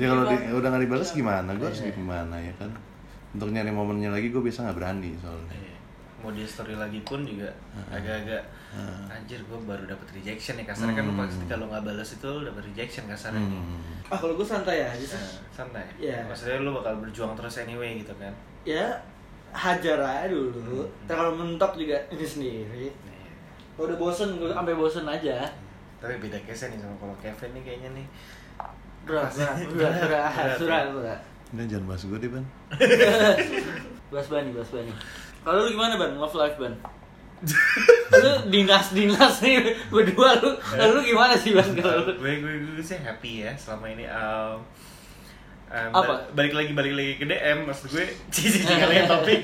Ya kalau di-
Iya.
udah nggak dibalas gimana? Gue harus gimana ya kan? Untuk nyari momennya lagi gue biasa nggak berani soalnya.
Iya. mau di story lagi pun juga
Nah.
agak-agak anjir gue baru dapat rejection ya kasarnya kan lu pasti kalau nggak balas itu lu dapat rejection kasarnya
Hmm.
Ah kalau gue santai aja sih.
Eh.
Nah, santai
Iya.
maksudnya lu bakal berjuang terus anyway gitu kan
Ya hajar aja dulu. Ntar kalau mentok juga ini sendiri.
Nah, iya.
Kalau udah bosen, gue sampai bosen aja.
tapi beda case nih sama kalau Kevin nih kayaknya nih
Berat, berat, berat, berat, berat, berat.
Udah jangan bahas gue deh ban.
Bas bani, bas bani. Kalau lu gimana ban? Love life ban? lu dinas dinas nih berdua lu lu gimana sih ban kalau lu
Nah, gue gue gue sih happy ya selama ini um, um, ba-
Apa?
balik lagi balik lagi ke DM maksud gue cici kalian topik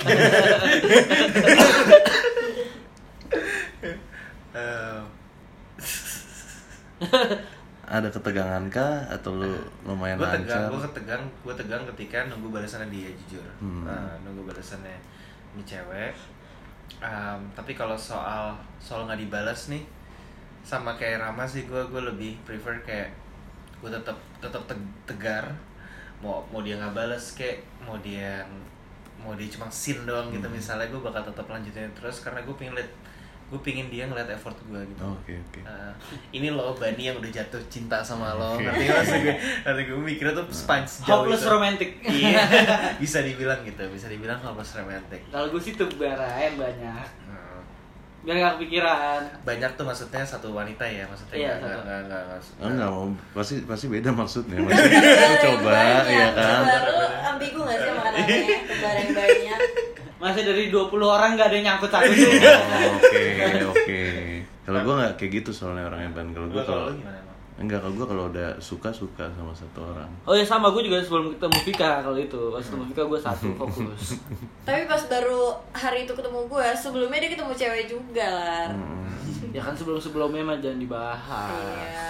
Um,
Ada ketegangan kah atau lu lumayan
gue tegang
lancar?
gue ketegang gue tegang ketika nunggu balasannya dia jujur
Hmm.
Nah, nunggu balasannya ini cewek Em, tapi kalau soal soal nggak dibalas nih sama kayak Rama sih gue gue lebih prefer kayak gue tetap tetap teg- tegar mau mau dia nggak balas kayak mau dia mau dia cuma sin doang
Hmm.
gitu misalnya gue bakal tetap lanjutin terus karena gue pengen liat gue pengen dia ngeliat effort gue gitu
Oke oke.
Uh, ini loh Bani yang udah jatuh cinta sama lo
Oke.
ngerti nggak maksud gue nanti gue mikirnya tuh sepanjang sejauh
Hopeless
itu.
romantic.
iya bisa dibilang gitu bisa dibilang hopeless romantic
kalau gue sih tuh barain banyak
Hmm.
biar gak kepikiran
banyak tuh maksudnya satu wanita ya maksudnya
Iya,
nggak- nggak-
satu.
nggak- nggak- nggak-
Oh, Enggak, mau- pasti pasti beda maksudnya. Maksudnya
Iya,
lu coba,
iya
ya kan?
Coba lu ambigu gak sih ya, makanannya? Coba yang banyak.
Masih dari 20 orang gak ada yang nyangkut aku sih
Oh, Oke, oke. Kalau gua nggak kayak gitu soalnya orangnya ban. Kalau gua
Kalau
kalau
lu gimana, Bang?
enggak kalau gua kalau udah suka suka sama satu orang.
Oh ya sama gue juga sebelum ketemu Vika kalau itu Pas ketemu Vika gue satu fokus
Tapi pas baru hari itu ketemu gue, sebelumnya dia ketemu cewek juga lah.
Hmm.
Ya kan sebelum-sebelumnya mah jangan
Ah.
dibahas
Iya.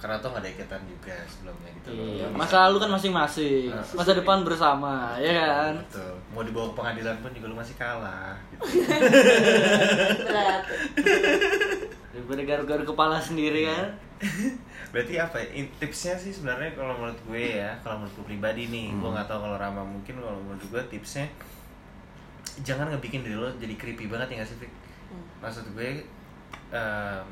karena tuh nggak ada ikatan juga sebelumnya gitu
Iya,
Bisa-
Masa lalu kan masing-masing
Iya.
Masa depan bersama, ya kan?
Betul. mau dibawa ke pengadilan pun juga lu masih kalah gitu.
Berat.
Daripada garu-garu kepala sendiri kan
berarti apa ya, in- tipsnya sih sebenarnya kalau menurut gue ya kalau menurut gue pribadi nih
Hmm.
gue nggak tahu kalau Rama mungkin kalau menurut gue tipsnya jangan ngebikin diri lo jadi creepy banget ya nggak sih Fik?
Hmm.
maksud gue em,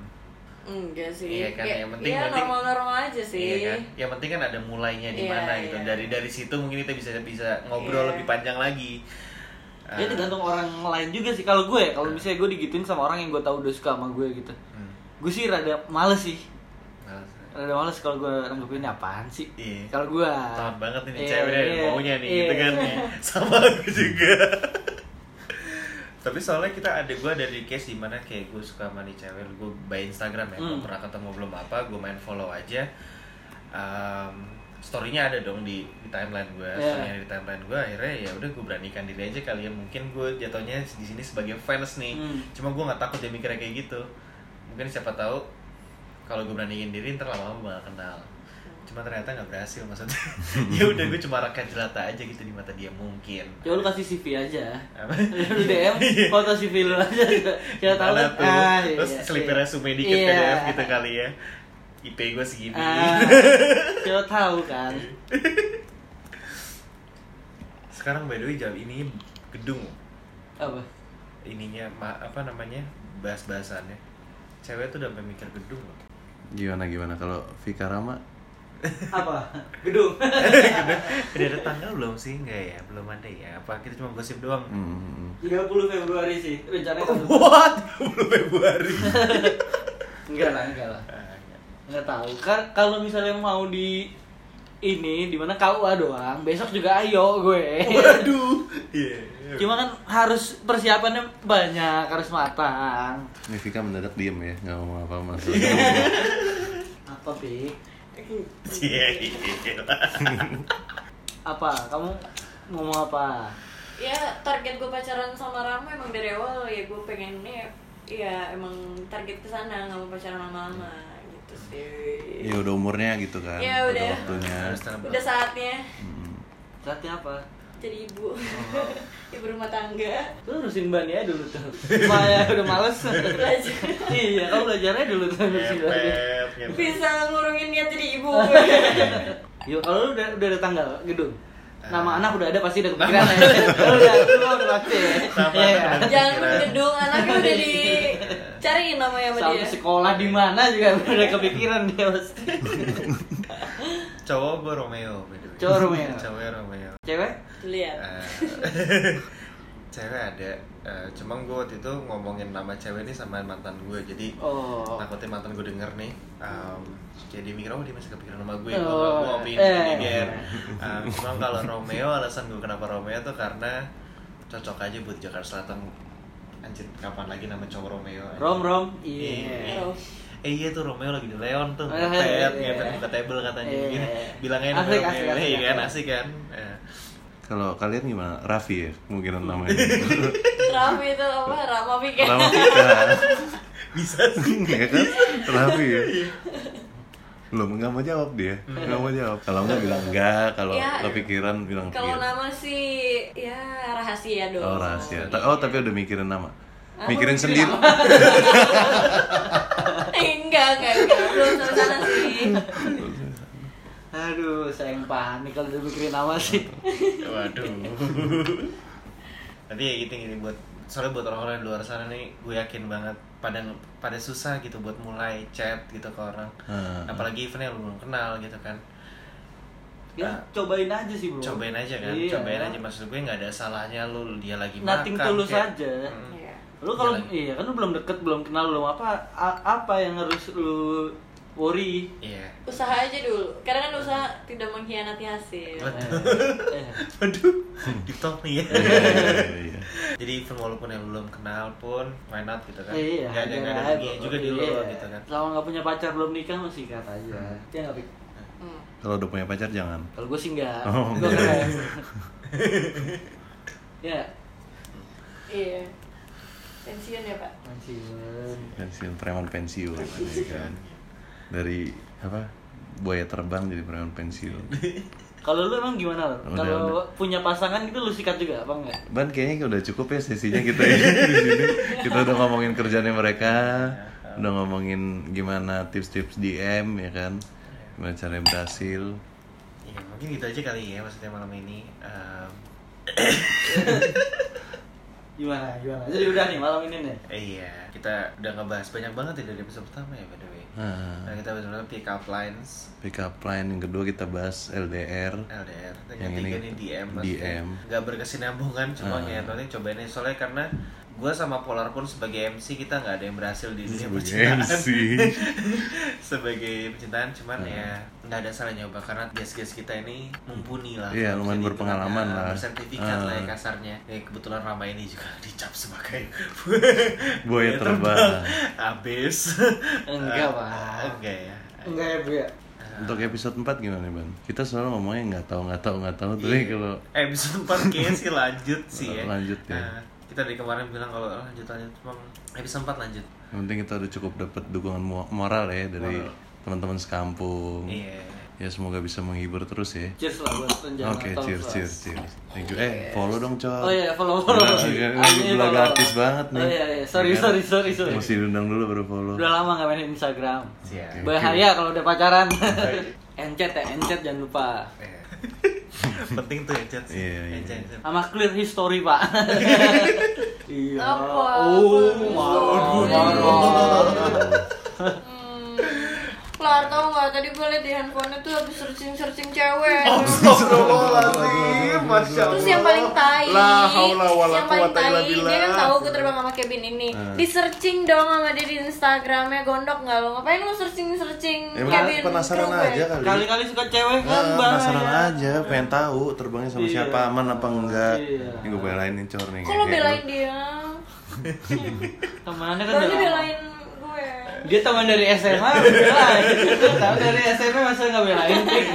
Enggak sih.
Iya kan,
Kayak-
yang penting
Iya,
berarti-
normal-normal aja sih.
iya kan? yang penting kan ada mulainya di
Iya,
mana gitu
iya.
dari dari situ mungkin kita bisa bisa ngobrol
Iya.
lebih panjang lagi
Ya
Eh,
tergantung orang lain juga sih kalau gue ya, kalau misalnya gue digituin sama orang yang gue tahu udah suka sama gue gitu
hmm,
gue sih rada males sih
males.
rada males kalau gue nanggepin apaan sih
Iya.
kalau gue
Tahan banget nih
Iya,
cewek
iya,
maunya nih
iya.
gitu kan nih. Sama aku juga. Tapi soalnya kita ada gue ada di case dimana kayak gue suka sama nih cewek, gue by Instagram ya, belum
Hmm.
pernah ketemu belum apa, gue main follow aja. Em, story-nya ada dong di, di timeline gue,
Iya.
story-nya ada di timeline gue, akhirnya ya udah gue beranikan diri aja kali ya, mungkin gue jatuhnya di sini sebagai fans nih,
Hmm.
cuma gue nggak takut dia mikirnya kayak gitu, mungkin siapa tahu kalau gue beraniin diri ntar lama-lama bakal kenal
Hmm.
cuma ternyata nggak berhasil maksudnya ya udah gue cuma rakyat jelata aja gitu di mata dia mungkin
ya lu kasih CV aja
Apa?
lu DM foto CV lu aja kita tahu
Gimana Iya.
kan
tuh
Ah, iya,
terus
iya.
selip resume dikit
Iya.
PDF gitu kali ya IP gue segini
Ah, kita tahu kan
sekarang by the way jam ini gedung
apa
ininya ma- apa namanya bahas bahasannya cewek tuh udah sampai mikir gedung loh
Gimana gimana kalau Vika Rama?
apa gedung
udah ada tanggal belum sih enggak ya belum ada ya apa kita cuma gosip doang
Hmm.
30 Februari sih rencananya kan
what belum Februari
enggak lah enggak lah nggak tahu kan kalau misalnya mau di ini dimana KUA doang besok juga ayo gue
waduh iya
cuma kan harus persiapannya banyak harus matang
Ini Vika mendadak diem ya, nggak ngomong apa apa
apa pi
Cie, gila.
apa kamu ngomong apa
Ya target gue pacaran sama Rama emang dari awal ya gue pengennya ya emang target ke sana nggak mau pacaran lama-lama gitu sih.
Ya udah umurnya gitu kan.
Ya, udah.
waktunya.
Udah saatnya
saatnya apa
jadi ibu,
Oh.
ibu rumah tangga.
lu urusin ban ya dulu tuh Maya udah males
Belajar.
iya kamu belajarnya dulu tuh urusin ban ya.
Ngepet, gitu.
Bisa ngurungin niat jadi ibu.
yuk kalau lu udah udah ada tanggal gedung
Eh.
nama anak udah ada pasti udah kepikiran ya Lu udah lu udah pasti ya
Nama
Iya
anak
kan?
udah
Jangan pun gedung anaknya udah dicariin namanya sama
sampai
dia.
sekolah di mana juga udah kepikiran dia pasti
cowok gue Romeo by the way.
Cowok Romeo.
Iya. cowok Romeo
cewek
Lihat.
Eh, cewek ada Eh, cuma gue waktu itu ngomongin nama cewek ini sama mantan gue jadi
oh
takutnya mantan gue denger nih Em, jadi mikir oh dia masih kepikiran sama gue gue
Oh,
gue opini
eh.
ini biar Em, cuma kalau Romeo alasan gue kenapa Romeo tuh karena cocok aja buat Jakarta Selatan anjir kapan lagi nama cowok Romeo anjir.
rom rom
Iya.
iya
Rom.
Eh iya tuh Romeo lagi di Leon tuh,
Eh,
ngepet,
iya.
ngepet buka table katanya
Iya.
gini. Bilangnya
Asik,
Romeo,
asik, asik,
iya kan,
asik.
asik kan. Eh,
Kalau kalian gimana? Raffi ya, mungkin namanya.
Rama itu apa? Rama pikir.
Rama Vika.
Bisa sih.
ya kan? Raffi ya. Belum nggak mau jawab dia, nggak mau jawab. Kalau nggak bilang enggak, kalau
Ya.
kepikiran bilang kepikiran.
Kalau nama sih ya rahasia dong.
Oh rahasia. Ta- Oh tapi udah mikirin
Ah,
nama. Mikirin
mikirin
sendiri.
Eh, enggak, enggak, enggak. Belum sampai sana sih.
aduh sayang panik kalau udah mikirin nama sih
Waduh. Tapi ya gitu gini buat soalnya buat orang-orang di luar sana nih, gue yakin banget pada pada susah gitu buat mulai chat gitu ke orang.
Hmm.
Apalagi eventnya lu belum kenal gitu kan.
ya
Ah.
cobain aja sih bro
Cobain aja kan,
Iya.
cobain aja maksud gue nggak ada salahnya lu dia lagi
Nothing
makan.
tulus
kayak-
aja.
Mm.
Iya.
Lu kalau
Jalan.
iya kan lu belum deket, belum kenal, belum apa a- apa yang harus lu worry?
Iya.
usaha aja dulu karena kan usaha tidak mengkhianati hasil
Eh, eh.
Aduh, di top nih ya.
Iya.
Jadi even walaupun yang belum kenal pun, why not gitu kan?
Iya,
Nggak ada nggak ada
aja.
ruginya juga di lu
Iya.
gitu kan.
Selama nggak punya pacar belum nikah masih ikat aja. Iya nggak Pik?
Hmm.
Kalau udah punya pacar jangan.
Kalau gue sih nggak.
Oh,
Gue keren. ya,
iya pensiun ya pak
masih.
Pensiun preman pensiun. ya kan? Dari apa? Buaya terbang jadi preman pensiun.
Kalau lu emang gimana? Lu?
Udah,
Kalau punya pasangan gitu lu sikat juga apa enggak?
Ban kayaknya udah cukup ya sesinya kita ya di sini. Kita udah ngomongin kerjaannya mereka, udah ngomongin gimana tips-tips DM ya kan, gimana caranya berhasil.
Iya, mungkin gitu aja kali ya maksudnya malam ini. Ehm,
Gimana? Gimana? Jadi udah nih malam ini nih.
iya, kita udah ngebahas banyak banget ya dari episode pertama ya by the way. Nah,
Nah,
kita bahas pertama pick up lines,
pick up line yang kedua kita bahas LDR.
LDR, dan
Yang
yang ketiga
ini
ini DM. maksudnya.
DM.
Nggak berkesinambungan, cuma
Ah.
ya nanti cobain aja. soalnya karena gue sama Polar pun sebagai MC kita nggak ada yang berhasil di dunia percintaan.
MC.
sebagai percintaan cuman
Hmm.
ya nggak ada salah nyoba karena guest-guest kita ini mumpuni lah
Iya, lumayan
Jadi
berpengalaman
itu kan,
lah.
bersertifikat lah ya
Ah.
kasarnya ya, kebetulan Rama ini juga dicap sebagai
Buaya terbang.
abis
Enggak, Pak.
Ah, enggak ya Ah.
Enggak ya bu ya.
Untuk episode 4 gimana nih Ban? Kita selalu ngomongnya nggak tahu nggak tahu nggak tahu tapi kalau
eh bisa empat kayaknya sih lanjut sih ya
Lanjut ya.
Nah, kita dari kemarin bilang kalau "Ah, lanjut lanjut cuma episode empat lanjut
yang penting kita udah cukup dapat dukungan mo- moral ya dari teman-teman sekampung.
iya
Ya semoga bisa menghibur terus ya.
Cheers lah buat rencana.
Oke,
Tolong,
cheers,
Pak.
cheers, cheers. Thank you. Eh, follow dong, Cok.
Oh iya, follow follow.
Gila, gila,
Ah, iya,
gila,
follow.
gratis banget nih.
Oh iya, iya. sorry
Kan?
sorry sorry sorry.
Mesti diundang dulu baru follow.
Udah lama nggak main Instagram.
siap
Oke.
Bahaya kalau udah pacaran. encet ya, encet jangan lupa.
Eh. penting tuh ya chat sih
Iya, iya.
Eh, chat, chat.
Sama clear history, Pak. iya.
Apa?
Oh,
Apa?
marah, marah.
Hmm. Kelar tau nggak tadi gue liat di handphonenya tuh habis searching searching cewek.
Oh,
Astagfirullahaladzim, Masya
Terus yang paling tai,
La haula wala
yang paling
quwata illa
tai, dia
billah. Hmm.
kan tahu gue terbang sama Kevin ini. Di searching dong sama dia di Instagramnya gondok nggak lo? Ngapain lo searching searching
Emang
Kevin?
Ya,
ya?
penasaran
Kruger?
aja kan. kali.
Kali-kali suka cewek kan,
Ah,
Bang.
penasaran aja, pengen tahu terbangnya sama
Iya.
siapa, aman apa enggak.
Iya.
Ini gue belain nih, Cor nih.
Kok lo
Kayak gitu.
belain
lu.
dia?
Temannya kan
Baru
udah lama.
belain gue.
Dia teman dari SMA, belain. Tahu dari SMA masa nggak belain? Pik?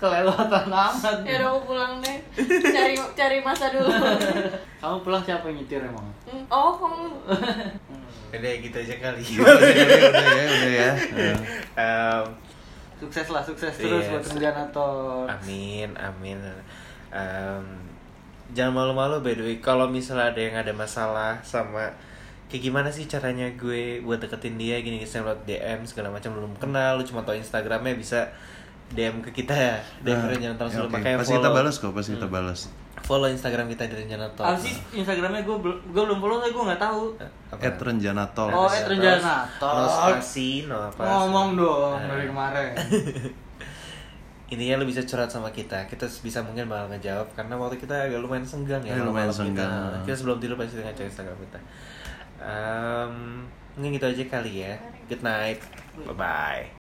Kelewatan amat.
Ya udah aku pulang deh. Cari cari masa dulu.
Kamu pulang siapa yang nyetir emang?
Hmm. Oh kamu
Udah gitu aja kali
Udah ya, udah ya. Nah.
Em,
Sukses lah, sukses
Iya.
terus buat Renjana Tor.
Amin, amin. Em, jangan malu-malu by the way. Kalau misalnya ada yang ada masalah sama kayak gimana sih caranya gue buat deketin dia gini gini lewat DM segala macam belum kenal, lu cuma tau Instagramnya bisa DM ke kita dari Rencana Tol
ya,
selalu
oke.
pakai
Pasti kita
follow,
balas kok, pasti kita balas.
follow Instagram kita dari Rencana Tol.
Apa sih Instagramnya gue bel- gue belum follow tapi gue nggak tahu.
Apa?
At Renjana Tol.
Oh, at Renjana Tol.
No spasi, no apa.
Ngomong dong
Eh.
dari kemarin.
Intinya lu bisa curhat sama kita. Kita bisa mungkin bakal ngejawab karena waktu kita agak lumayan senggang ya.
Iya, lumayan
malam-malam kita.
senggang.
Kita, sebelum tidur pasti ngecek Instagram kita. Em, mungkin gitu aja kali ya. Good night. Bye bye.